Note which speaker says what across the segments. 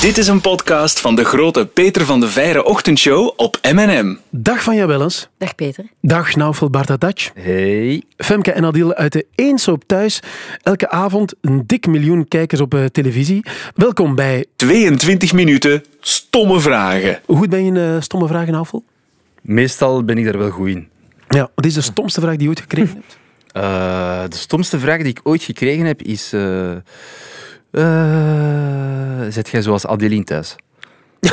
Speaker 1: Dit is een podcast van de grote Peter van de Veire ochtendshow op M&M.
Speaker 2: Dag van jou wel eens.
Speaker 3: Dag Peter.
Speaker 2: Dag Naufel Bartadatsch.
Speaker 4: Hey.
Speaker 2: Femke en Adil uit de Eenshoop Thuis. Elke avond een dik miljoen kijkers op eh, televisie. Welkom bij...
Speaker 1: 22 minuten stomme vragen.
Speaker 2: Hoe ben je in eh, stomme vragen, Naufel?
Speaker 4: Meestal ben ik daar wel goed in.
Speaker 2: Ja, wat is de stomste vraag die je ooit gekregen hebt?
Speaker 4: Eh, de stomste vraag die ik ooit gekregen heb is... eh eh, zet jij zoals Adeline thuis?
Speaker 2: Dat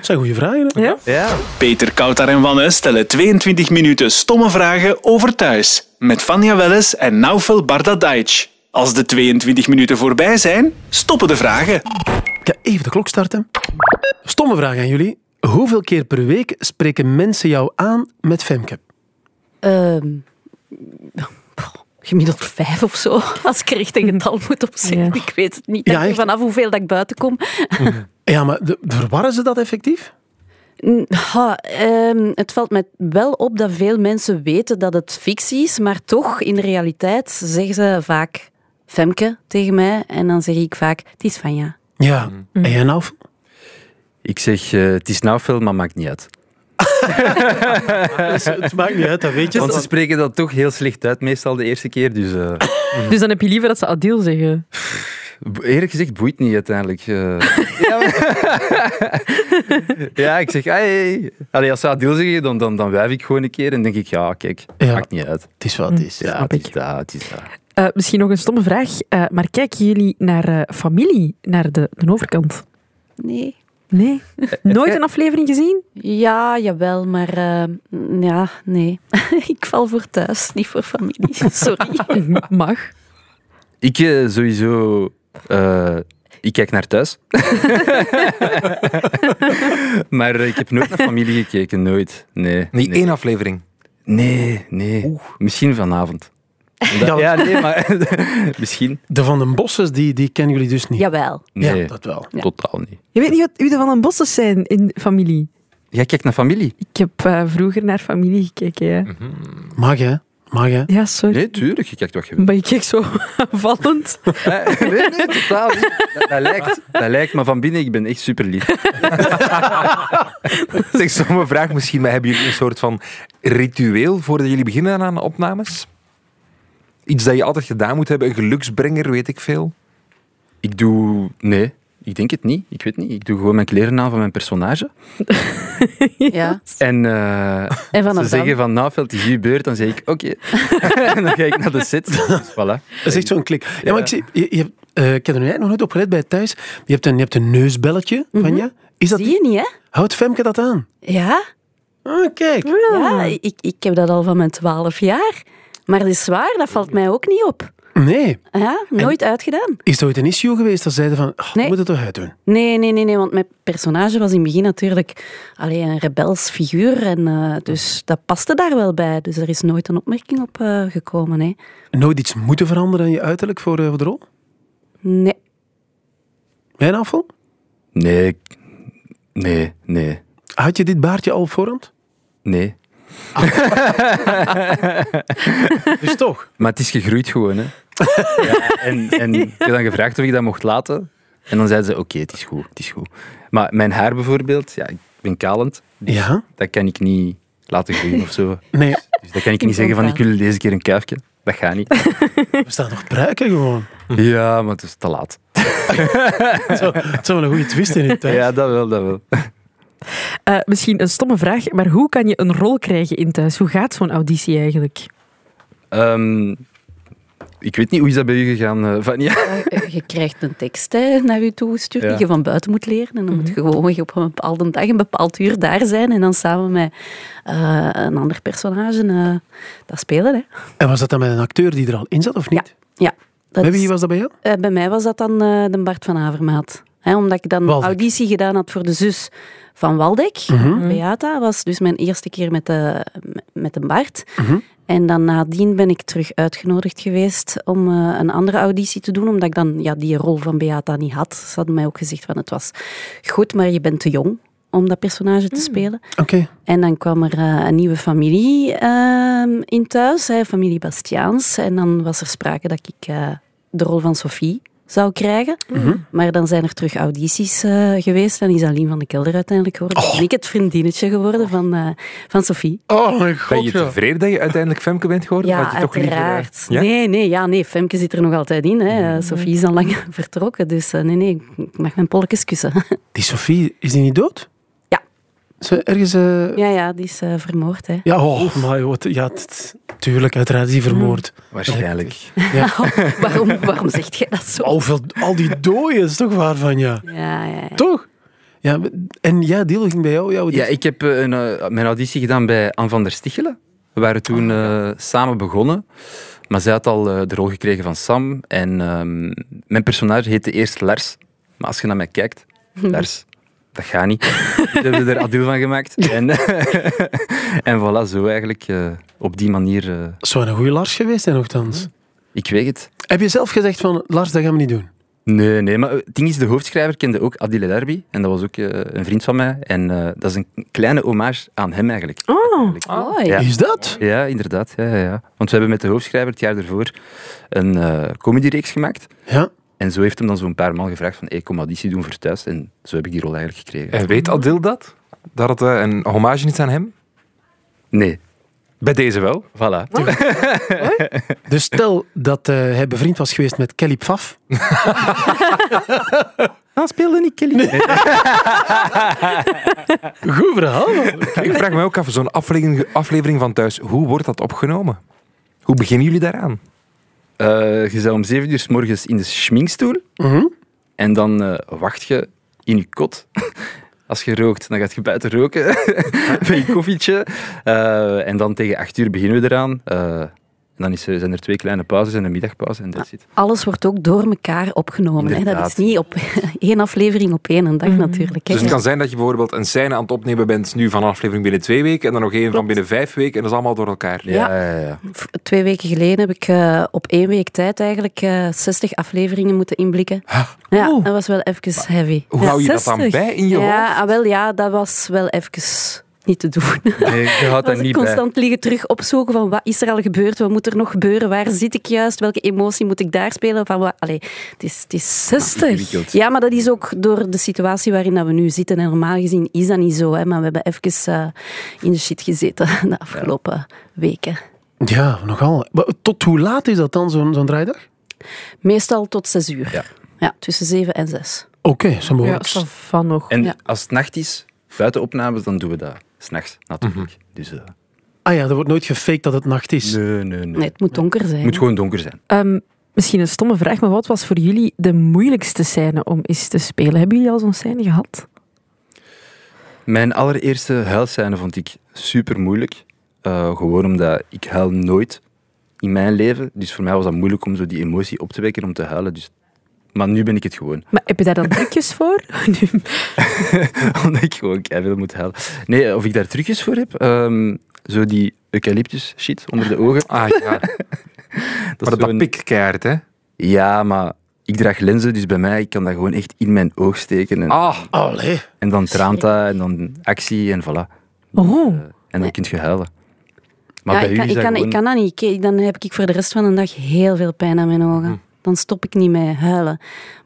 Speaker 2: zijn goede vragen, hè?
Speaker 4: Ja.
Speaker 1: Peter Koutar en Wanne stellen 22 minuten stomme vragen over thuis. Met Vanja Welles en Naufel Bardadajic. Als de 22 minuten voorbij zijn, stoppen de vragen.
Speaker 2: Ik ga even de klok starten. Stomme vraag aan jullie. Hoeveel keer per week spreken mensen jou aan met Femke?
Speaker 3: Ehm, pff, gemiddeld vijf of zo, als ik er echt een getal moet op zeggen. Ik weet het niet.
Speaker 2: Ja,
Speaker 3: Ja,
Speaker 2: echt?
Speaker 3: Vanaf hoeveel dat ik buiten kom.
Speaker 2: Ja, maar de- verwarren ze dat effectief?
Speaker 3: Mm, ha, ehm, het valt mij wel op dat veel mensen weten dat het fictie is, maar toch, in de realiteit zeggen ze vaak Femke tegen mij en dan zeg ik vaak, het is van ja.
Speaker 2: Ja.
Speaker 4: Mm.
Speaker 2: En jij nou?
Speaker 4: Ik zeg, eh, het is nou veel, maar maakt niet uit.
Speaker 2: Het maakt niet uit, dat weet je.
Speaker 4: Want ze spreken dat toch heel slecht uit, meestal de eerste keer. Dus eh,
Speaker 5: Dus dan heb je liever dat ze Adil zeggen.
Speaker 4: bo- eerlijk gezegd boeit niet uiteindelijk. eh. ja, maar- Ja, ik zeg, hey. Allee, als ze Adil zeggen, dan, dan, dan wijf ik gewoon een keer en denk ik, ja, kijk,
Speaker 2: Ja.
Speaker 4: maakt niet uit.
Speaker 2: Het is wat het is.
Speaker 4: Ja,
Speaker 5: Snap
Speaker 4: het is
Speaker 5: ik.
Speaker 4: dat, het is dat.
Speaker 5: Eh, misschien nog een stomme vraag, eh, maar kijken jullie naar eh, familie, naar de, de overkant?
Speaker 3: Nee.
Speaker 5: Nee. Nooit
Speaker 4: jij-
Speaker 5: een aflevering gezien?
Speaker 3: Ja, jawel, maar ehm, ja, nee. ik val voor thuis, niet voor familie. Sorry.
Speaker 5: Mag.
Speaker 4: Ik eh, sowieso. eh, ik kijk naar thuis. maar eh, ik heb nooit naar familie gekeken, nooit. Nee.
Speaker 6: Niet
Speaker 4: nee.
Speaker 6: één aflevering.
Speaker 4: Nee, nee. Misschien vanavond.
Speaker 2: Ja,
Speaker 4: Ja, nee, maar misschien.
Speaker 2: De Van den Bosses, die, die kennen jullie dus niet.
Speaker 3: jawel.
Speaker 4: Nee,
Speaker 2: Ja, dat wel.
Speaker 4: totaal niet.
Speaker 5: Je weet niet wat, wie de Van den Bossen zijn in familie.
Speaker 4: Jij kijkt naar familie?
Speaker 5: Ik heb eh, vroeger naar familie gekeken, ja.
Speaker 2: Mag hè? Mag hè?
Speaker 5: Ja, sorry.
Speaker 4: Mhm. Nee, tuurlijk, je kijkt wat je wilt.
Speaker 5: Maar je keek zo vallend.
Speaker 4: Eh, nee, nee, totaal niet. Dat, dat lijkt, dat lijkt, maar van binnen, ik ben echt super lief.
Speaker 6: Zeg, stomme vraag misschien, maar hebben jullie een soort van ritueel voordat jullie beginnen aan opnames? Iets dat je altijd gedaan moet hebben, een geluksbrenger, weet ik veel.
Speaker 4: Ik doe. Nee, ik denk het niet. Ik weet niet. Ik doe gewoon mijn kleren aan van mijn personage.
Speaker 3: Ja.
Speaker 4: En. eh,
Speaker 3: En vanaf
Speaker 4: Als ze
Speaker 3: dan?
Speaker 4: zeggen van nou, Veld, het is uw beurt, dan zeg ik oké. en dan ga ik naar de set. Dus voilà.
Speaker 2: Dat is echt zo'n klik. Ja, maar ik, zie, je, je hebt, eh, ik heb er nu eigenlijk nog nooit op gelet bij thuis. Je hebt een, je hebt een neusbelletje van je. Is dat,
Speaker 3: Zie je niet, hè?
Speaker 2: houdt Femke dat aan?
Speaker 3: Ja,
Speaker 2: Ah, kijk.
Speaker 3: ja ik, ik heb dat al van mijn twaalf jaar. Maar dat is waar, dat valt mij ook niet op.
Speaker 2: Nee.
Speaker 3: Ja, nooit uitgedaan.
Speaker 2: Is dat ooit een issue geweest dat zeiden van, oh,
Speaker 3: Nee.
Speaker 2: moet het toch uitdoen?
Speaker 3: Nee, nee, nee, nee, want mijn personage was in het begin natuurlijk alleen een rebels figuur. En, eh, dus dat paste daar wel bij. Dus er is nooit een opmerking op eh, gekomen. Hè.
Speaker 2: Nooit iets moeten veranderen aan je uiterlijk voor, eh, voor de rol?
Speaker 3: Nee.
Speaker 2: Mijn afval?
Speaker 4: Nee, ik- nee, nee,
Speaker 2: Had je dit baardje al op voorhand?
Speaker 4: nee.
Speaker 2: Dus toch?
Speaker 4: Maar het is gegroeid gewoon. Hè. Ja, en, en ik heb dan gevraagd of ik dat mocht laten. En dan zeiden ze oké, het is goed, het is goed. Maar mijn haar bijvoorbeeld, ja, ik ben kalend. Dus
Speaker 2: Ja.
Speaker 4: Dat kan ik niet laten groeien of zo.
Speaker 2: Nee,
Speaker 4: Dus dat kan ik niet zeggen van ik wil deze keer een kuifje. Dat gaat niet.
Speaker 2: we staan nog pruiken gewoon.
Speaker 4: Ja, maar het is te laat.
Speaker 2: Het zou, het zou wel een goede twist in het thuis.
Speaker 4: Ja, dat wel, dat wel.
Speaker 5: Eh, misschien een stomme vraag, maar hoe kan je een rol krijgen in thuis? Hoe gaat zo'n auditie eigenlijk?
Speaker 4: Ehm, ik weet niet hoe is dat bij u gegaan, eh, Vanja?
Speaker 3: Eh, Je krijgt een tekst hè, naar je toegestuurd
Speaker 4: Ja.
Speaker 3: die je van buiten moet leren. En dan moet je gewoon op een bepaalde dag, een bepaald uur daar zijn. En dan samen met eh, een ander personage eh, dat spelen. Hè.
Speaker 2: En was dat dan met een acteur die er al in zat of niet?
Speaker 3: Ja. Dat
Speaker 2: Bij
Speaker 3: is-
Speaker 2: wie was dat bij jou?
Speaker 3: Eh, bij mij was dat dan eh, de Bart van Avermaat. Hè, omdat ik dan
Speaker 2: Waldek.
Speaker 3: auditie gedaan had voor de zus van Waldek.
Speaker 2: Mhm.
Speaker 3: Beata was dus mijn eerste keer met de, met de Bart. En dan nadien ben ik terug uitgenodigd geweest om eh, een andere auditie te doen. Omdat ik dan ja, die rol van Beata niet had. Ze hadden mij ook gezegd van het was goed, maar je bent te jong om dat personage te spelen.
Speaker 2: Oké.
Speaker 3: En dan kwam er eh, een nieuwe familie ehm, in thuis, hè, familie Bastiaans. En dan was er sprake dat ik eh, de rol van Sophie zou krijgen.
Speaker 6: Mhm.
Speaker 3: Maar dan zijn er terug audities eh, geweest en is Aline van de Kelder uiteindelijk
Speaker 6: Oh.
Speaker 3: geworden. Ben ik het vriendinnetje geworden van, eh, van Sophie.
Speaker 2: Oh mijn
Speaker 6: Ben
Speaker 2: god,
Speaker 6: je
Speaker 2: ja.
Speaker 6: tevreden dat je uiteindelijk Femke bent geworden?
Speaker 3: Ja,
Speaker 6: Had je toch liever, eh,
Speaker 3: uiteraard.
Speaker 6: ja? Mhm.
Speaker 3: Nee, nee, ja, nee, Femke zit er nog altijd in. Hè. Eh, Sophie is al lang vertrokken, dus eh, nee, nee, ik mag mijn polletjes kussen.
Speaker 2: Die Sophie, is die niet dood?
Speaker 3: Ja.
Speaker 2: Ze ergens... eh,
Speaker 3: ja, ja, die is eh, vermoord. Hè.
Speaker 2: Ja, oh, maar wat, ja, t- tuurlijk, uiteraard is die vermoord.
Speaker 4: Hmm. Waarschijnlijk.
Speaker 3: waarom, waarom zeg jij dat zo?
Speaker 2: Oh, veel, al die dooien, is toch waar van, ja.
Speaker 3: Ja, ja, ja.
Speaker 2: Toch? Ja, en ja, Deal ging bij jou. Jouw
Speaker 4: Ja, ik heb eh, een, eh, mijn auditie gedaan bij Anne van der Stichelen. We waren toen eh, samen begonnen. Maar zij had al eh, de rol gekregen van Sam. En ehm, mijn personage heette eerst Lars. Maar als je naar mij kijkt, Lars, dat gaat niet. Ze hebben er adieu van gemaakt. En, en voilà, zo eigenlijk. eh, op die manier, eh,
Speaker 2: Zou een goede Lars geweest zijn,
Speaker 4: Hmm.
Speaker 2: nogthans.
Speaker 4: ik weet het.
Speaker 2: Heb je zelf gezegd van, Lars, dat gaan we niet doen?
Speaker 4: Nee, nee, maar eh, het ding is, de hoofdschrijver kende ook Adile Derby. En dat was ook eh, een vriend van mij. En eh, dat is een kleine hommage aan hem eigenlijk.
Speaker 5: Oh,
Speaker 6: Ah.
Speaker 3: Mooi.
Speaker 4: Ja.
Speaker 2: Is dat?
Speaker 4: Ja, inderdaad. Ja, ja, ja. Want we hebben met de hoofdschrijver het jaar ervoor een eh comedyreeks gemaakt.
Speaker 2: Ja.
Speaker 4: En zo heeft hem dan zo'n paar maal gevraagd van hey, kom auditie doen voor thuis. En zo heb ik die rol eigenlijk gekregen.
Speaker 6: En weet Adil dat? Dat het eh, een hommage is aan hem?
Speaker 4: Nee,
Speaker 6: Bij deze wel.
Speaker 4: voilà.
Speaker 2: Dus stel dat eh, hij bevriend was geweest met Kelly Pfaff.
Speaker 4: Dan speelde niet Kelly.
Speaker 2: Goed verhaal. man.
Speaker 6: Ik vraag me ook af, zo'n aflevering, aflevering van thuis, hoe wordt dat opgenomen? Hoe beginnen jullie daaraan?
Speaker 4: Eh, je zou om zeven uur s morgens in de schminkstoel.
Speaker 2: Mhm.
Speaker 4: En dan eh, wacht je in je kot. Als je rookt, dan gaat je buiten roken bij je koffietje. Eh, en dan tegen acht uur beginnen we eraan. Eh, en dan is, er- zijn er twee kleine pauzes en een middagpauze en dat zit.
Speaker 3: Alles wordt ook door elkaar opgenomen. Hè. Dat is
Speaker 4: Inderdaad.
Speaker 3: niet op één aflevering op één een dag natuurlijk. Hè.
Speaker 6: Dus het kan zijn dat je bijvoorbeeld een scène aan het opnemen bent nu van een aflevering binnen twee weken en dan nog één van binnen vijf weken en dat is allemaal door elkaar.
Speaker 3: Ja.
Speaker 4: ja, ja.
Speaker 3: V- Twee weken geleden heb ik eh, op één week tijd eigenlijk eh 60 afleveringen moeten inblikken. Ja,
Speaker 5: Oeh.
Speaker 3: dat was wel even heavy.
Speaker 6: Hoe hou je dat dan
Speaker 5: 60.
Speaker 6: bij in je hoofd?
Speaker 3: Ja, ah, wel, ja, dat was wel even niet te doen.
Speaker 4: Nee, je houdt
Speaker 3: Was
Speaker 4: daar
Speaker 3: ik
Speaker 4: niet bij.
Speaker 3: constant liggen terug opzoeken van wat is er al gebeurd, wat moet er nog gebeuren, waar zit ik juist, welke emotie moet ik daar spelen. Van wat, allee, het, is, het is 60.
Speaker 4: Ingewikkeld.
Speaker 3: Ja, maar dat is ook door de situatie waarin dat we nu zitten. En normaal gezien is dat niet zo, hè, maar we hebben even eh, in de shit gezeten de afgelopen weken.
Speaker 2: Ja, nogal. Maar tot hoe laat is dat dan, zo'n zo'n draaidag?
Speaker 3: Meestal tot zes uur.
Speaker 4: Ja.
Speaker 3: Ja, tussen zeven en zes.
Speaker 2: Oké, zo zo'n
Speaker 5: ja,
Speaker 2: mogelijk.
Speaker 5: ça va nog.
Speaker 4: En
Speaker 3: Ja.
Speaker 4: als het nacht is, buiten opnames, dan doen we dat. S'nachts, natuurlijk. Dus, eh,
Speaker 2: Ah ja, er wordt nooit gefaked dat het nacht is.
Speaker 4: nee, nee, nee.
Speaker 3: Nee, het moet donker zijn.
Speaker 4: Het moet gewoon donker zijn.
Speaker 5: Ehm, misschien een stomme vraag, maar wat was voor jullie de moeilijkste scène om eens te spelen? Hebben jullie al zo'n scène gehad?
Speaker 4: Mijn allereerste huilscène vond ik super moeilijk. Eh, gewoon omdat ik huil nooit in mijn leven. Dus voor mij was dat moeilijk om zo die emotie op te wekken om te huilen. Dus... Maar nu ben ik het gewoon.
Speaker 5: Maar heb je daar dan trucjes voor? Nu-
Speaker 4: Omdat ik gewoon keihard moet huilen. Nee, eh, of ik daar trucjes voor heb. Ehm, zo die eucalyptus shit onder de ogen.
Speaker 6: Ah ja,
Speaker 4: Dat is
Speaker 6: maar dat, dat
Speaker 4: zo'n-
Speaker 6: pikt keihard, hè?
Speaker 4: Ja, maar ik draag lenzen, dus bij mij ik kan dat gewoon echt in mijn oog steken. En,
Speaker 6: Ah,
Speaker 2: Allee.
Speaker 4: en dan traant dat, en dan actie, en voilà.
Speaker 5: Oh,
Speaker 4: En dan kun je huilen. Maar
Speaker 3: ja,
Speaker 4: bij
Speaker 3: ik kan,
Speaker 4: u is
Speaker 3: ik,
Speaker 4: dat
Speaker 3: kan,
Speaker 4: gewoon...
Speaker 3: ik kan dat niet. Ik- Dan heb ik voor de rest van de dag heel veel pijn aan mijn ogen.
Speaker 4: Hm.
Speaker 3: Dan stop ik niet met huilen.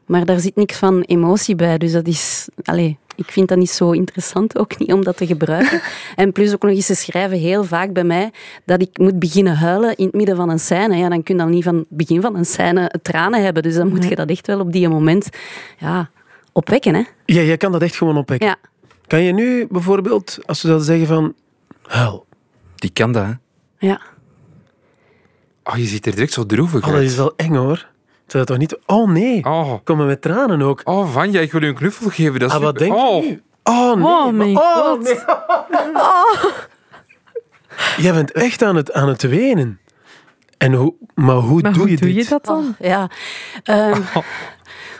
Speaker 3: Maar daar zit niks van emotie bij. Dus dat is... Allee, ik vind dat niet zo interessant, ook niet om dat te gebruiken. En plus ook nog eens, ze schrijven heel vaak bij mij dat ik moet beginnen huilen in het midden van een scène. Ja, dan kun je dan niet van het begin van een scène tranen hebben. Dus dan moet je dat echt wel op die moment ja, opwekken. Hè?
Speaker 2: Ja, jij kan dat echt gewoon opwekken.
Speaker 3: Ja.
Speaker 2: Kan je nu bijvoorbeeld, als ze zouden zeggen van... Huil.
Speaker 4: Die kan dat, hè.
Speaker 3: ja.
Speaker 6: oh, je ziet er direct zo droevig
Speaker 2: Oh, dat
Speaker 6: uit.
Speaker 2: is wel eng, hoor. Zou dat toch niet... Oh, nee.
Speaker 6: Oh,
Speaker 2: Komen met tranen ook.
Speaker 6: oh Vanja, ik wil u een knuffel geven. Dat is
Speaker 2: Ah, wat
Speaker 6: super-
Speaker 2: denk je
Speaker 6: oh.
Speaker 2: nu? Oh, nee.
Speaker 5: Oh, mijn
Speaker 2: maar-
Speaker 5: god.
Speaker 2: nee. Jij bent echt aan het, aan het wenen. En hoe, maar hoe
Speaker 5: maar
Speaker 2: doe,
Speaker 5: hoe
Speaker 2: je,
Speaker 5: doe
Speaker 2: dit? Ah.
Speaker 5: je dat dan?
Speaker 3: Oh, ja. Ehm,
Speaker 2: Oh.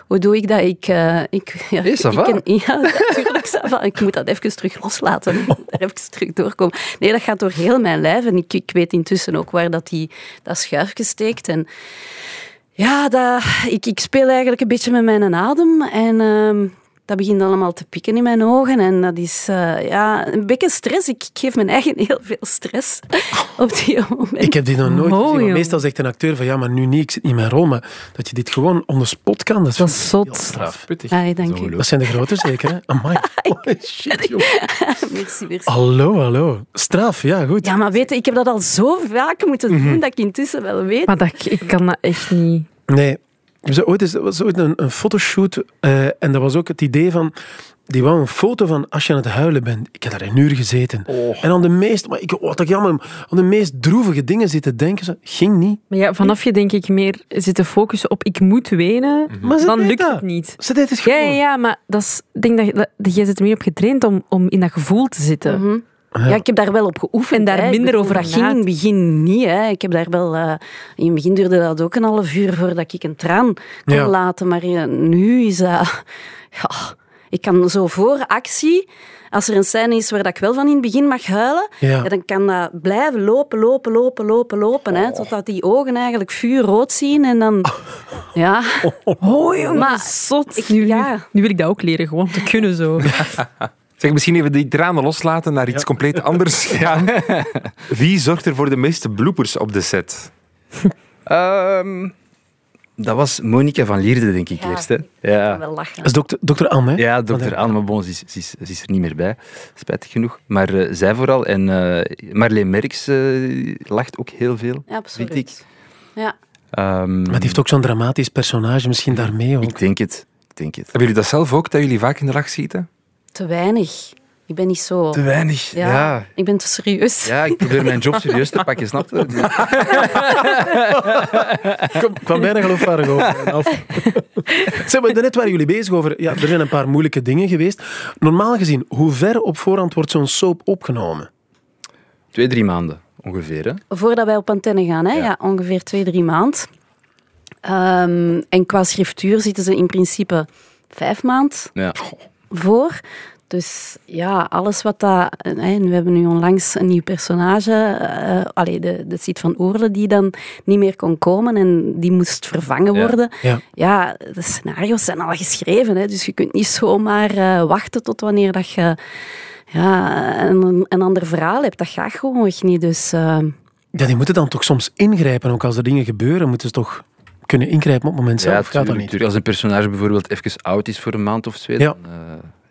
Speaker 3: Hoe doe ik dat? Ik, eh, ik, ja,
Speaker 4: Nee, ça
Speaker 3: ik
Speaker 4: va.
Speaker 3: ken- ja, natuurlijk, ça va. Ik moet dat even terug loslaten.
Speaker 2: Oh.
Speaker 3: Ik moet Daar even terug doorkomen. Nee, dat gaat door heel mijn lijf. En ik, ik weet intussen ook waar dat, die, dat schuifje steekt. En ja, dat, ik, ik speel eigenlijk een beetje met mijn adem. En ehm, dat begint allemaal te pikken in mijn ogen. En dat is eh, ja, een beetje stress. Ik, ik geef mijn eigen heel veel stress op die moment.
Speaker 2: Oh. Ik heb dit nog nooit
Speaker 5: Oh,
Speaker 2: gezien. want
Speaker 5: joh.
Speaker 2: Meestal zegt een acteur van ja, maar nu niet, ik zit niet in mijn rol. Maar dat je dit gewoon on the spot kan, dat is,
Speaker 5: Dat is
Speaker 2: wel
Speaker 5: zot.
Speaker 2: heel straf.
Speaker 6: Pittig.
Speaker 3: Allee, dank u.
Speaker 2: Dat zijn de grote zeker, hè? Amai. Holy shit, joh.
Speaker 3: Merci, merci.
Speaker 2: Hallo, hallo. Straf, ja, goed.
Speaker 3: Ja, maar weet je, ik heb dat al zo vaak moeten doen dat ik intussen wel weet.
Speaker 5: Maar dat, ik kan dat echt niet.
Speaker 2: Nee. Ik heb zo ooit eens- Er was ooit een, een fotoshoot eh, en dat was ook het idee van... Die wou een foto van als je aan het huilen bent. Ik heb daar een uur gezeten. En aan de meest... Maar ik, wat ik jammer, aan de meest droevige dingen zitten denken. Ze, ging niet.
Speaker 5: Maar ja, vanaf je denk ik meer zit te focussen op ik moet wenen,
Speaker 2: Mhm. Maar ze
Speaker 5: dan
Speaker 2: deed
Speaker 5: lukt
Speaker 2: dat.
Speaker 5: het niet.
Speaker 2: Ze deed het
Speaker 5: Ja,
Speaker 2: gewoon.
Speaker 5: ja, ja, maar dat is, ik denk dat, je- dat, jij zit er meer op getraind om, om in dat gevoel te zitten.
Speaker 2: Mhm.
Speaker 3: Ja, ik heb daar wel op geoefend.
Speaker 5: En daar
Speaker 3: hè. Ik
Speaker 5: minder
Speaker 3: bedoel,
Speaker 5: over
Speaker 3: Dat ging in het begin niet. Hè. Ik heb daar wel, eh, in het begin duurde dat ook een half uur voordat ik een traan kon
Speaker 2: Ja.
Speaker 3: laten. Maar eh, nu is dat... Ja, ik kan zo voor actie, als er een scène is waar dat ik wel van in het begin mag huilen,
Speaker 2: Ja.
Speaker 3: ja, dan kan dat blijven lopen, lopen, lopen, lopen, lopen. Hè, totdat die ogen eigenlijk vuurrood zien. En dan... Ja,
Speaker 5: Oh, jongen,
Speaker 3: Maar
Speaker 5: zot.
Speaker 3: ik-
Speaker 5: nu,
Speaker 3: ja.
Speaker 5: nu wil ik dat ook leren, gewoon te kunnen zo.
Speaker 6: Zeg, misschien even die tranen loslaten naar iets compleet anders gaan. Wie zorgt er voor de meeste bloepers op de set?
Speaker 4: Ehm, dat was Monika van Lierde, denk ik
Speaker 3: Ja.
Speaker 4: eerst. Hè? Ja.
Speaker 3: wel lachen.
Speaker 2: Dat is dokter, dokter Anne, hè?
Speaker 4: Ja, dokter Anne, maar bon, ze is, ze, is, ze is er niet meer bij, spijtig genoeg. Maar eh, zij vooral. En eh, Marleen Merks eh, lacht ook heel veel.
Speaker 3: Ja, absoluut.
Speaker 4: Vind ik.
Speaker 3: Ja.
Speaker 4: Ehm,
Speaker 2: Maar die heeft ook zo'n dramatisch personage. Misschien daarmee ook.
Speaker 4: Ik denk het. Ik denk het.
Speaker 6: Hebben jullie dat zelf ook, dat jullie vaak in de lach zitten?
Speaker 3: Te weinig. Ik ben niet zo...
Speaker 4: weinig.
Speaker 3: ja,
Speaker 4: Ja.
Speaker 3: ik ben te serieus.
Speaker 4: Ja, ik probeer mijn job serieus te pakken, snap je?
Speaker 2: Kom, ik kwam bijna geloofwaardig over. Af. Zeg maar, daarnet waren jullie bezig over... Ja, er zijn een paar moeilijke dingen geweest. Normaal gezien, hoe ver op voorhand wordt zo'n soap opgenomen?
Speaker 4: Twee, drie maanden ongeveer. Hè?
Speaker 3: Voordat wij op antenne gaan, hè? Ja. ongeveer twee, drie maand. Ehm, en qua schriftuur zitten ze in principe vijf maand
Speaker 4: Ja.
Speaker 3: voor. Dus ja, alles wat dat... eh, Hè, en we hebben nu onlangs een nieuw personage. eh allee, de, de Siet van Oerle, die dan niet meer kon komen en die moest vervangen
Speaker 4: Ja.
Speaker 3: worden.
Speaker 2: Ja.
Speaker 3: Ja, de scenario's zijn al geschreven, hè, dus je kunt niet zomaar eh, wachten tot wanneer dat je ja, een, een ander verhaal hebt. Dat gaat gewoon echt niet, dus... eh,
Speaker 2: Ja, die moeten dan toch soms ingrijpen. Ook als er dingen gebeuren, moeten ze toch kunnen ingrijpen op het moment zelf.
Speaker 4: Ja,
Speaker 2: Of gaat dat
Speaker 4: tuurlijk,
Speaker 2: niet?
Speaker 4: tuurlijk. Als een personage bijvoorbeeld even oud is voor een maand of twee,
Speaker 2: Ja.
Speaker 4: dan, eh,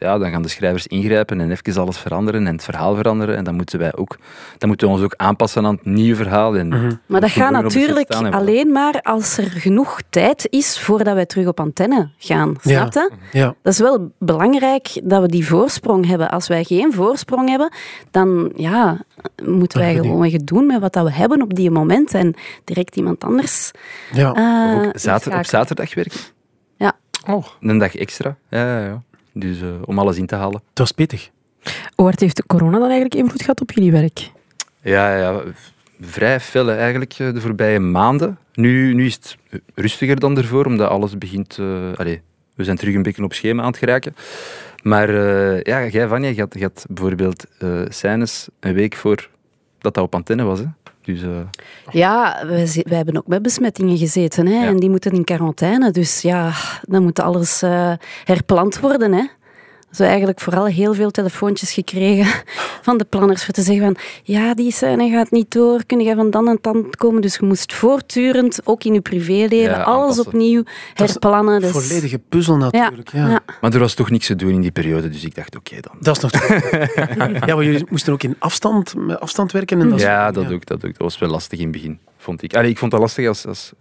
Speaker 4: ja, dan gaan de schrijvers ingrijpen en even alles veranderen en het verhaal veranderen. En dan moeten wij ook, dan moeten we ons ook aanpassen aan het nieuwe verhaal. En
Speaker 2: Mhm.
Speaker 3: Maar dat gaat
Speaker 4: Moet gewoon op de set
Speaker 3: natuurlijk
Speaker 4: staan en voilà.
Speaker 3: alleen maar als er genoeg tijd is voordat wij terug op antenne gaan.
Speaker 2: Ja.
Speaker 3: Snap je?
Speaker 2: Ja.
Speaker 3: Dat is wel belangrijk dat we die voorsprong hebben. Als wij geen voorsprong hebben, dan ja, moeten wij
Speaker 2: Ja, die-
Speaker 3: gewoon weer doen met wat dat we hebben op die moment en direct iemand anders.
Speaker 2: Ja.
Speaker 5: Ah.
Speaker 3: eh,
Speaker 4: Of ook zater- op
Speaker 3: inschakelen.
Speaker 4: zaterdag werken.
Speaker 3: Ja.
Speaker 6: Oh.
Speaker 4: Een dag extra. Ja, ja, ja. Dus eh, om alles in te halen.
Speaker 2: Het was pittig.
Speaker 5: Wat heeft de corona dan eigenlijk invloed gehad op jullie werk?
Speaker 4: Ja, ja, vrij felle eigenlijk eh, de voorbije maanden. Nu, nu is het rustiger dan ervoor, omdat alles begint... eh, allee, we zijn terug een beetje op schema aan het geraken. Maar eh, ja, jij, Vanja, je had, je had bijvoorbeeld eh scènes een week voor dat dat op antenne was. Hè? Dus eh,
Speaker 3: Ja, wij, zi- wij hebben ook met besmettingen gezeten hè,
Speaker 4: Ja.
Speaker 3: en die moeten in quarantaine. Dus ja, dan moet alles eh, herplant worden. Hè. Dus we hebben eigenlijk vooral heel veel telefoontjes gekregen van de planners voor te zeggen van ja, die scène gaat niet door, kun je van dan en dan komen. Dus je moest voortdurend, ook in je privéleven,
Speaker 4: Ja,
Speaker 3: alles
Speaker 4: aanpassen.
Speaker 3: opnieuw
Speaker 2: is
Speaker 3: herplannen. Dus,
Speaker 2: Volledige puzzel natuurlijk. Ja.
Speaker 3: ja.
Speaker 4: maar er was toch niks te doen in die periode, dus ik dacht, oké dan.
Speaker 2: Dat is nog... ja, maar jullie moesten ook in afstand, met afstand werken. En dat soort
Speaker 4: Ja,
Speaker 2: dingen,
Speaker 4: dat ook, dat ook. Dat was wel lastig in het begin, vond ik. Allee, ik vond dat lastig als, als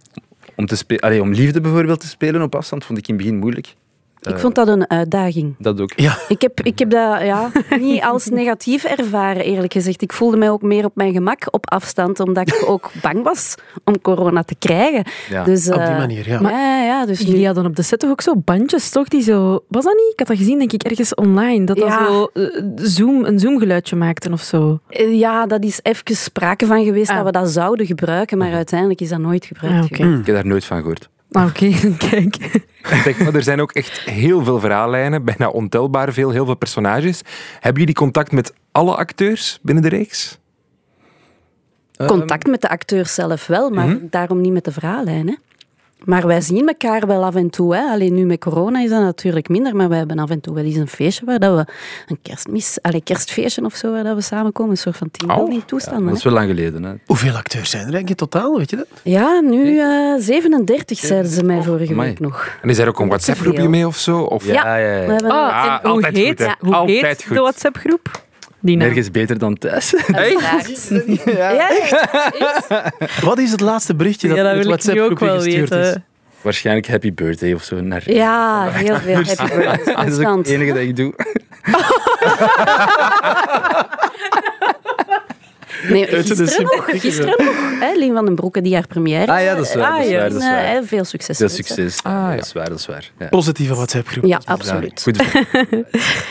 Speaker 4: om, te spe- allee, om liefde bijvoorbeeld te spelen op afstand, vond ik in het begin moeilijk.
Speaker 3: Ik vond dat een uitdaging.
Speaker 4: Dat ook.
Speaker 2: Ja,
Speaker 3: Ik heb, ik heb dat ja, niet als negatief ervaren, eerlijk gezegd. Ik voelde mij ook meer op mijn gemak op afstand, omdat ik ook bang was om corona te krijgen.
Speaker 4: Ja.
Speaker 3: Dus,
Speaker 2: op die
Speaker 3: eh,
Speaker 2: manier. Ja.
Speaker 3: Ja, ja, ja, dus nu-
Speaker 5: Jullie hadden op de set toch ook zo bandjes, toch? Die zo... Was dat niet? Ik had dat gezien, denk ik, ergens online. Dat dat
Speaker 3: Ja.
Speaker 5: zo eh, zoom, een zoomgeluidje maakten of zo.
Speaker 3: eh, ja, dat is even sprake van geweest
Speaker 5: Ah.
Speaker 3: dat we dat zouden gebruiken, maar uiteindelijk is dat nooit gebruikt.
Speaker 5: Ah, oké.
Speaker 3: geweest.
Speaker 4: Ik heb daar nooit van gehoord.
Speaker 5: Ah, Oké, kijk.
Speaker 6: Zeg, maar er zijn ook echt heel veel verhaallijnen, bijna ontelbaar veel, heel veel personages. Hebben jullie contact met alle acteurs binnen de reeks?
Speaker 4: Ehm, Mhm.
Speaker 3: Contact met de acteur zelf wel, maar daarom niet met de verhaallijn. Hè? Maar wij zien elkaar wel af en toe. Hè. Alleen nu met corona is dat natuurlijk minder, maar wij hebben af en toe wel eens een feestje waar dat we een kerstmis, allee, kerstfeestje of zo, waar dat we samenkomen. Een soort van teambuilding toestanden.
Speaker 4: Dat
Speaker 3: hè.
Speaker 4: is wel lang geleden. Hè.
Speaker 2: Hoeveel acteurs zijn er eigenlijk in totaal, weet je dat?
Speaker 3: Ja, nu eh, 37, zeiden ze mij vorige
Speaker 4: Oh, amai. Eh.
Speaker 3: week nog.
Speaker 6: En is er ook een WhatsApp-groepje
Speaker 3: veel.
Speaker 6: mee of zo? Of
Speaker 3: Ja.
Speaker 4: ja,
Speaker 3: We hebben
Speaker 5: Ah,
Speaker 6: Ah,
Speaker 5: en hoe
Speaker 6: altijd
Speaker 5: heet,
Speaker 6: goed, hè.
Speaker 5: hoe
Speaker 6: Altijd
Speaker 5: heet
Speaker 6: goed.
Speaker 5: de WhatsApp-groep? Die naam.
Speaker 4: Nergens beter dan thuis.
Speaker 3: Uiteraard. Ja.
Speaker 2: Wat is het laatste berichtje dat,
Speaker 5: ja, dat
Speaker 2: in het
Speaker 5: wil ik nu ook
Speaker 2: WhatsApp-groepje
Speaker 5: wel
Speaker 2: gestuurd is?
Speaker 5: weten.
Speaker 4: Waarschijnlijk happy birthday of zo. Naar
Speaker 3: Ja, heel veel happy birthdays
Speaker 4: Dus- dat is ook
Speaker 3: constant.
Speaker 4: het enige dat ik doe.
Speaker 3: Nee,
Speaker 2: is
Speaker 3: gisteren
Speaker 2: een
Speaker 3: nog, gisteren nog. Hè, Lien van den Broeke, die haar première
Speaker 4: Ah ja, dat is waar, dat is waar,
Speaker 3: en,
Speaker 4: dat is waar.
Speaker 3: eh, hè, Veel succes.
Speaker 4: Veel
Speaker 3: met ze.
Speaker 4: succes.
Speaker 6: ja.
Speaker 4: Dat is waar, dat is waar. Ja.
Speaker 2: Positieve WhatsApp-groep.
Speaker 3: Ja, absoluut.
Speaker 4: Goed.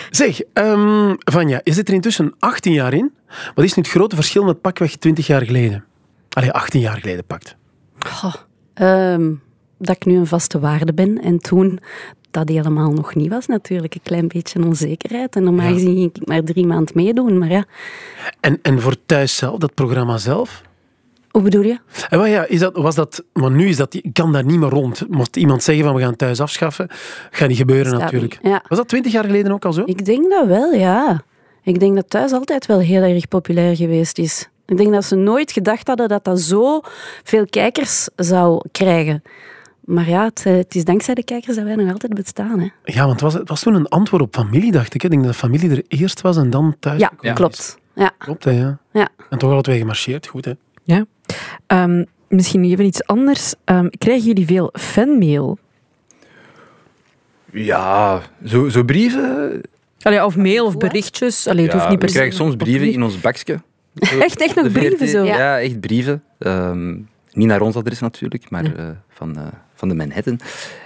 Speaker 2: Zeg, ehm, Vanja, je zit er intussen 18 jaar in. Wat is nu het grote verschil met pakweg 20 jaar geleden? Allee, 18 jaar geleden pakt.
Speaker 3: Goh, ehm, dat ik nu een vaste waarde ben. En toen dat die helemaal nog niet was, natuurlijk. Een klein beetje onzekerheid. En normaal gezien ging ik maar drie maanden meedoen. Maar ja,
Speaker 2: En, en voor thuis zelf, dat programma zelf?
Speaker 3: hoe bedoel je?
Speaker 2: En wel ja, is dat, was dat, maar nu is dat, ik kan daar niet meer rond. Mocht iemand zeggen van we gaan thuis afschaffen, gaat niet gebeuren
Speaker 3: Staat
Speaker 2: natuurlijk.
Speaker 3: niet, ja.
Speaker 2: Was dat 20 jaar geleden ook al zo?
Speaker 3: Ik denk dat wel, ja. Ik denk dat thuis altijd wel heel erg populair geweest is. Ik denk dat ze nooit gedacht hadden dat dat zo veel kijkers zou krijgen. Maar ja, het, eh, het is dankzij de kijkers dat wij nog altijd bestaan. Hè.
Speaker 2: Ja, want het was, het was toen een antwoord op familie, dacht ik. hè. Ik denk dat familie er eerst was en dan thuis.
Speaker 3: Ja,
Speaker 2: gekomen is.
Speaker 3: klopt. Ja.
Speaker 2: Klopt, hè, ja.
Speaker 3: Ja.
Speaker 2: En toch alle twee gemarcheerd, goed hè.
Speaker 5: Ja. Ehm, misschien even iets anders. Ehm, krijgen jullie veel fanmail?
Speaker 4: Ja, zo, zo brieven.
Speaker 5: Allee, of mail of
Speaker 3: Goed, hè?
Speaker 5: berichtjes? Allee, het
Speaker 4: Ja,
Speaker 5: hoeft niet per
Speaker 4: we
Speaker 5: se-
Speaker 4: krijgen soms brieven in ons bakje. Zo,
Speaker 5: Echt, echt nog
Speaker 4: de
Speaker 5: brieven
Speaker 4: VRT.
Speaker 5: zo?
Speaker 4: Ja, echt brieven. Ehm, niet naar ons adres natuurlijk, maar eh, van, eh, van de Manhattan.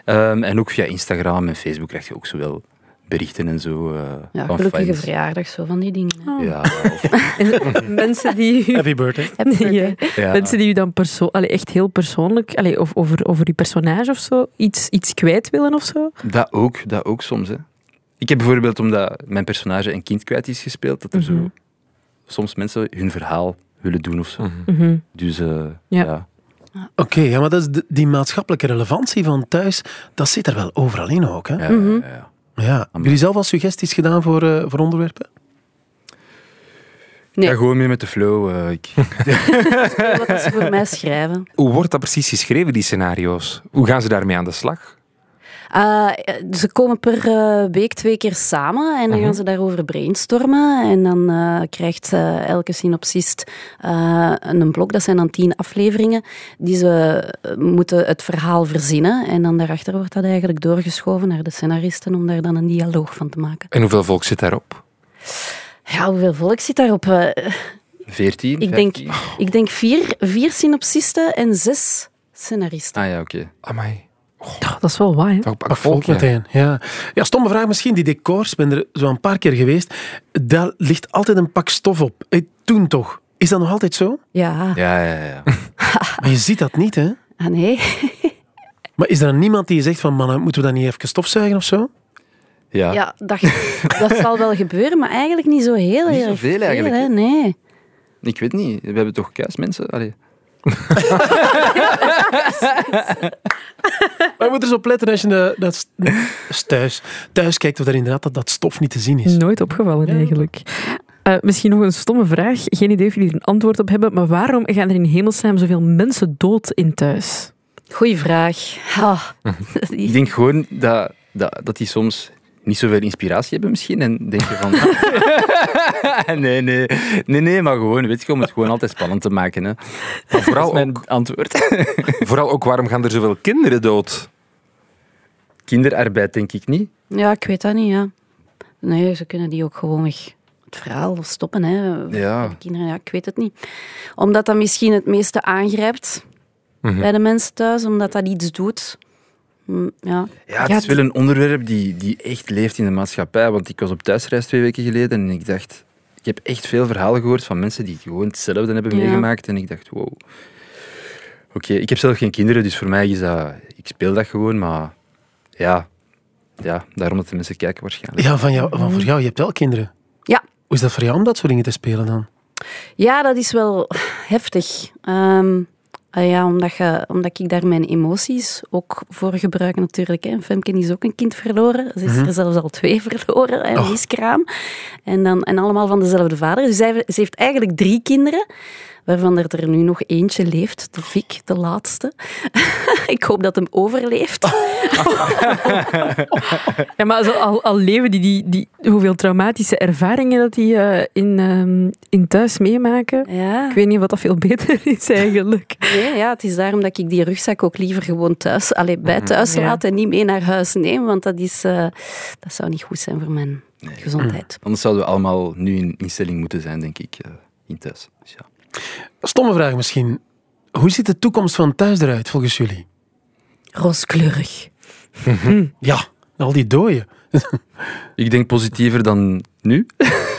Speaker 4: Ehm, en ook via Instagram en Facebook krijg je ook zowel berichten en zo. eh,
Speaker 3: Ja,
Speaker 4: van
Speaker 3: gelukkige
Speaker 4: fans.
Speaker 3: verjaardag, zo van die dingen.
Speaker 5: Oh.
Speaker 3: hè.
Speaker 4: Ja, of-
Speaker 5: En mensen die... u-
Speaker 2: Happy birthday.
Speaker 3: Happy birthday.
Speaker 5: Ja.
Speaker 4: ja.
Speaker 5: Mensen die u dan perso allee, echt heel persoonlijk, allee, of over, over uw personage of zo, iets, iets kwijt willen of zo.
Speaker 4: Dat ook, dat ook soms. Hè. Ik heb bijvoorbeeld, omdat mijn personage een kind kwijt is gespeeld, dat er
Speaker 5: Mhm.
Speaker 4: zo soms mensen hun verhaal willen doen of zo.
Speaker 5: Mhm.
Speaker 4: Dus eh,
Speaker 5: Ja.
Speaker 4: ja.
Speaker 2: Oké, ja, maar dat is de- die maatschappelijke relevantie van thuis, dat zit er wel overal in ook. Hè? Ja.
Speaker 4: ja, ja, ja.
Speaker 2: Hebben jullie zelf al suggesties gedaan voor, eh, voor onderwerpen?
Speaker 3: Nee.
Speaker 4: Ja, gewoon mee met de flow. eh, ik,
Speaker 3: Wat dat ze voor mij schrijven.
Speaker 6: Hoe wordt dat precies geschreven, die scenario's? Hoe gaan ze daarmee aan de slag?
Speaker 3: Eh, ze komen per eh, week twee keer samen en dan gaan ze daarover brainstormen. En dan eh, krijgt eh, elke synopsist eh, een blok, dat zijn dan tien afleveringen, die ze eh, moeten het verhaal verzinnen. En dan daarachter wordt dat eigenlijk doorgeschoven naar de scenaristen om daar dan een dialoog van te maken.
Speaker 6: En hoeveel volk zit daarop?
Speaker 3: Ja, hoeveel volk zit daarop? Eh,
Speaker 4: 14,
Speaker 3: ik, denk,
Speaker 4: 15.
Speaker 3: ik denk vier, vier synopsisten en zes scenaristen.
Speaker 4: Ah ja, oké.
Speaker 6: Amai.
Speaker 5: Oh, dat is wel waar, hè?
Speaker 6: Toch een pak
Speaker 2: Pak volk
Speaker 6: volk, ja.
Speaker 2: meteen. Ja. ja, stomme vraag misschien. Die decors, ik ben er zo een paar keer geweest. Daar ligt altijd een pak stof op. Eh, Toen toch. Is dat nog altijd zo?
Speaker 3: Ja,
Speaker 4: Ja, ja, ja.
Speaker 2: Maar je ziet dat niet, hè?
Speaker 3: ah nee.
Speaker 2: Maar is er dan niemand die zegt van, mannen, moeten we dat niet even stofzuigen of zo?
Speaker 4: Ja,
Speaker 3: Ja, dat, dat zal wel gebeuren, maar eigenlijk niet zo heel
Speaker 4: Niet
Speaker 3: erg
Speaker 4: zoveel eigenlijk,
Speaker 3: hè?
Speaker 4: hè?
Speaker 3: Nee.
Speaker 4: ik weet niet. We hebben toch kuis, mensen? Allee.
Speaker 2: Maar je moet er zo op letten als je eh, dat s- s- thuis, thuis kijkt of daar inderdaad dat, dat stof niet te zien is.
Speaker 5: Nooit opgevallen eigenlijk. Eh, misschien nog een stomme vraag. Geen idee of jullie er een antwoord op hebben, maar waarom gaan er in hemelsnaam zoveel mensen dood in thuis?
Speaker 3: Goeie vraag. Ah.
Speaker 4: Ik denk gewoon dat, dat, dat die soms niet zoveel inspiratie hebben misschien. En denken van... nee, nee. Nee, nee, maar gewoon, weet je, om het gewoon altijd spannend te maken. Hè.
Speaker 6: Maar
Speaker 4: Dat is
Speaker 6: vooral,
Speaker 4: mijn
Speaker 6: ook,
Speaker 4: antwoord.
Speaker 6: vooral ook, waarom gaan er zoveel kinderen dood?
Speaker 4: Kinderarbeid denk ik niet.
Speaker 3: Ja, ik weet dat niet, ja. Nee, ze kunnen die ook gewoon weg. Het verhaal stoppen, hè.
Speaker 4: Ja.
Speaker 3: Voor de Kinderen, ja, ik weet het niet. Omdat dat misschien het meeste aangrijpt
Speaker 6: Mhm.
Speaker 3: bij de mensen thuis, omdat dat iets doet. Hm, Ja.
Speaker 4: Ja, het
Speaker 5: Ja,
Speaker 4: is wel een onderwerp die, die echt leeft in de maatschappij. Want ik was op thuisreis twee weken geleden en ik dacht... Ik heb echt veel verhalen gehoord van mensen die gewoon hetzelfde hebben
Speaker 3: Ja.
Speaker 4: meegemaakt. En ik dacht, wow. Oké, ik heb zelf geen kinderen, dus voor mij is dat... Ik speel dat gewoon, maar... Ja, ja daarom dat de mensen kijken waarschijnlijk.
Speaker 2: Ja, van jou, van voor jou, je hebt wel kinderen.
Speaker 3: Mm. Ja.
Speaker 2: Hoe is dat voor jou om dat soort dingen te spelen dan?
Speaker 3: ja, dat is wel heftig. Ehm, Ah ja, omdat, je, omdat ik daar mijn emoties ook voor gebruik natuurlijk. Hè. Femke is ook een kind verloren. Ze is er zelfs al twee verloren, hè, miskraam. En, dan, en allemaal van dezelfde vader. Dus zij, ze heeft eigenlijk drie kinderen, waarvan er, er nu nog eentje leeft. De Vic, de laatste. ik hoop dat hem overleeft.
Speaker 5: Ja, maar zo al, al leven die, die, die, hoeveel traumatische ervaringen dat die eh, in, ehm, in thuis meemaken.
Speaker 3: Ja.
Speaker 5: Ik weet niet wat dat veel beter is eigenlijk.
Speaker 3: Nee, ja, het is daarom dat ik die rugzak ook liever gewoon thuis, allee, bij thuis
Speaker 5: Ja.
Speaker 3: laat en niet mee naar huis neem, want dat, is, eh, dat zou niet goed zijn voor mijn gezondheid.
Speaker 4: Anders zouden we allemaal nu in instelling moeten zijn, denk ik, eh, in thuis. Dus ja.
Speaker 2: Stomme vraag misschien. Hoe ziet de toekomst van thuis eruit volgens jullie?
Speaker 3: Rooskleurig.
Speaker 2: Ja, al die dooien.
Speaker 4: Ik denk positiever dan nu.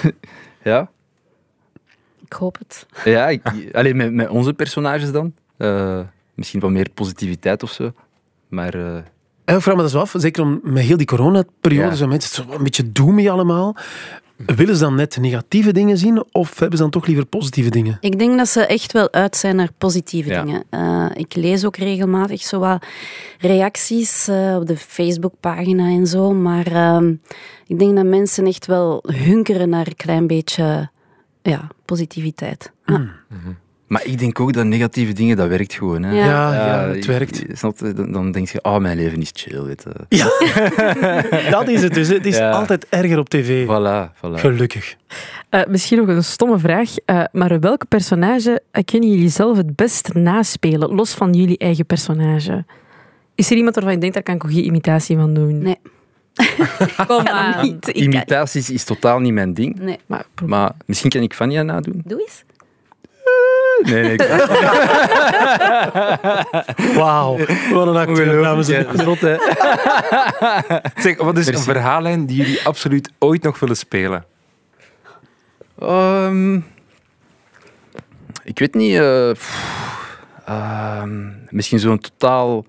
Speaker 4: ja.
Speaker 3: Ik hoop het.
Speaker 4: ja ik, alleen met, met onze personages dan. Eh, misschien wat meer positiviteit of zo. Maar eh,
Speaker 2: En ik vraag me dat zo af, zeker om, met heel die coronaperiode,
Speaker 4: Ja.
Speaker 2: zo mensen zo een beetje doemie allemaal. Willen ze dan net negatieve dingen zien of hebben ze dan toch liever positieve dingen?
Speaker 3: Ik denk dat ze echt wel uit zijn naar positieve
Speaker 4: Ja.
Speaker 3: dingen. Eh, ik lees ook regelmatig zo wat reacties eh, op de Facebookpagina en zo. Maar ehm, ik denk dat mensen echt wel hunkeren naar een klein beetje ja, positiviteit. Ja.
Speaker 4: Maar ik denk ook dat negatieve dingen, dat werkt gewoon. Hè?
Speaker 3: Ja.
Speaker 2: Ah, Ja, ja, het
Speaker 4: ik-
Speaker 2: werkt.
Speaker 4: snap je? dan, dan denk je, oh, mijn leven is chill. Weet je.
Speaker 2: Ja, dat is het dus. Het is
Speaker 4: Ja.
Speaker 2: altijd erger op tv.
Speaker 4: Voilà, voilà.
Speaker 2: Gelukkig.
Speaker 5: Eh, misschien nog een stomme vraag, eh, maar welke personage eh, kunnen jullie zelf het best naspelen, los van jullie eigen personage? Is er iemand waarvan je denkt, daar kan ik een goede imitatie van doen?
Speaker 3: Nee.
Speaker 5: Kom
Speaker 3: Ja,
Speaker 5: aan.
Speaker 3: niet. Ik-
Speaker 4: Imitaties is totaal niet mijn ding.
Speaker 3: Nee.
Speaker 5: Maar,
Speaker 4: Maar misschien kan ik Vanja nadoen.
Speaker 3: Doe eens.
Speaker 4: Nee, nee. Ik...
Speaker 2: Wauw, wat een acteur, dames en heren.
Speaker 4: Zot, hè.
Speaker 6: Zeg, wat is
Speaker 4: Merci.
Speaker 6: een verhaallijn die jullie absoluut ooit nog willen spelen?
Speaker 4: Ehm, ik weet niet. eh, pff, ehm, misschien zo'n totaal.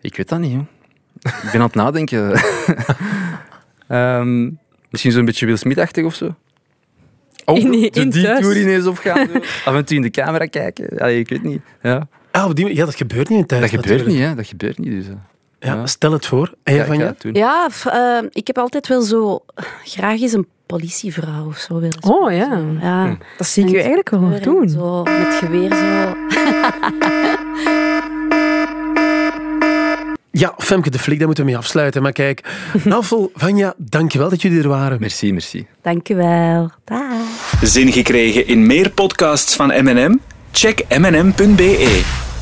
Speaker 4: Ik weet dat niet, joh. Ik ben aan het nadenken. Ehm, misschien zo'n beetje Will Smith-achtig of zo. Oh,
Speaker 5: In-
Speaker 4: de
Speaker 5: in thuis.
Speaker 4: detour ineens opgaan. zo. Af en toe in de camera kijken. Allee, ik weet niet. Ja.
Speaker 2: Ah, op die manier- ja, dat gebeurt niet in thuis.
Speaker 4: Dat gebeurt
Speaker 2: natuurlijk.
Speaker 4: niet, hè. Dat gebeurt niet. Dus, eh,
Speaker 2: Ja, stel het voor. En jij
Speaker 4: ik
Speaker 2: van
Speaker 4: ga
Speaker 2: je?
Speaker 4: het doen.
Speaker 3: Ja, f- eh, ik heb altijd wel zo graag eens een politievrouw of zo willen.
Speaker 5: Oh ja,
Speaker 3: Ja,
Speaker 5: dat zie ik je eigenlijk wel nog doen.
Speaker 3: Zo met geweer zo.
Speaker 2: Ja, Femke de Flik, daar moeten we mee afsluiten. Maar kijk, Navel, Vanja, dankjewel dat jullie er waren.
Speaker 4: Merci, merci.
Speaker 3: Dankjewel. Dag.
Speaker 1: Zin gekregen in meer podcasts van M&M? Check mnm.be.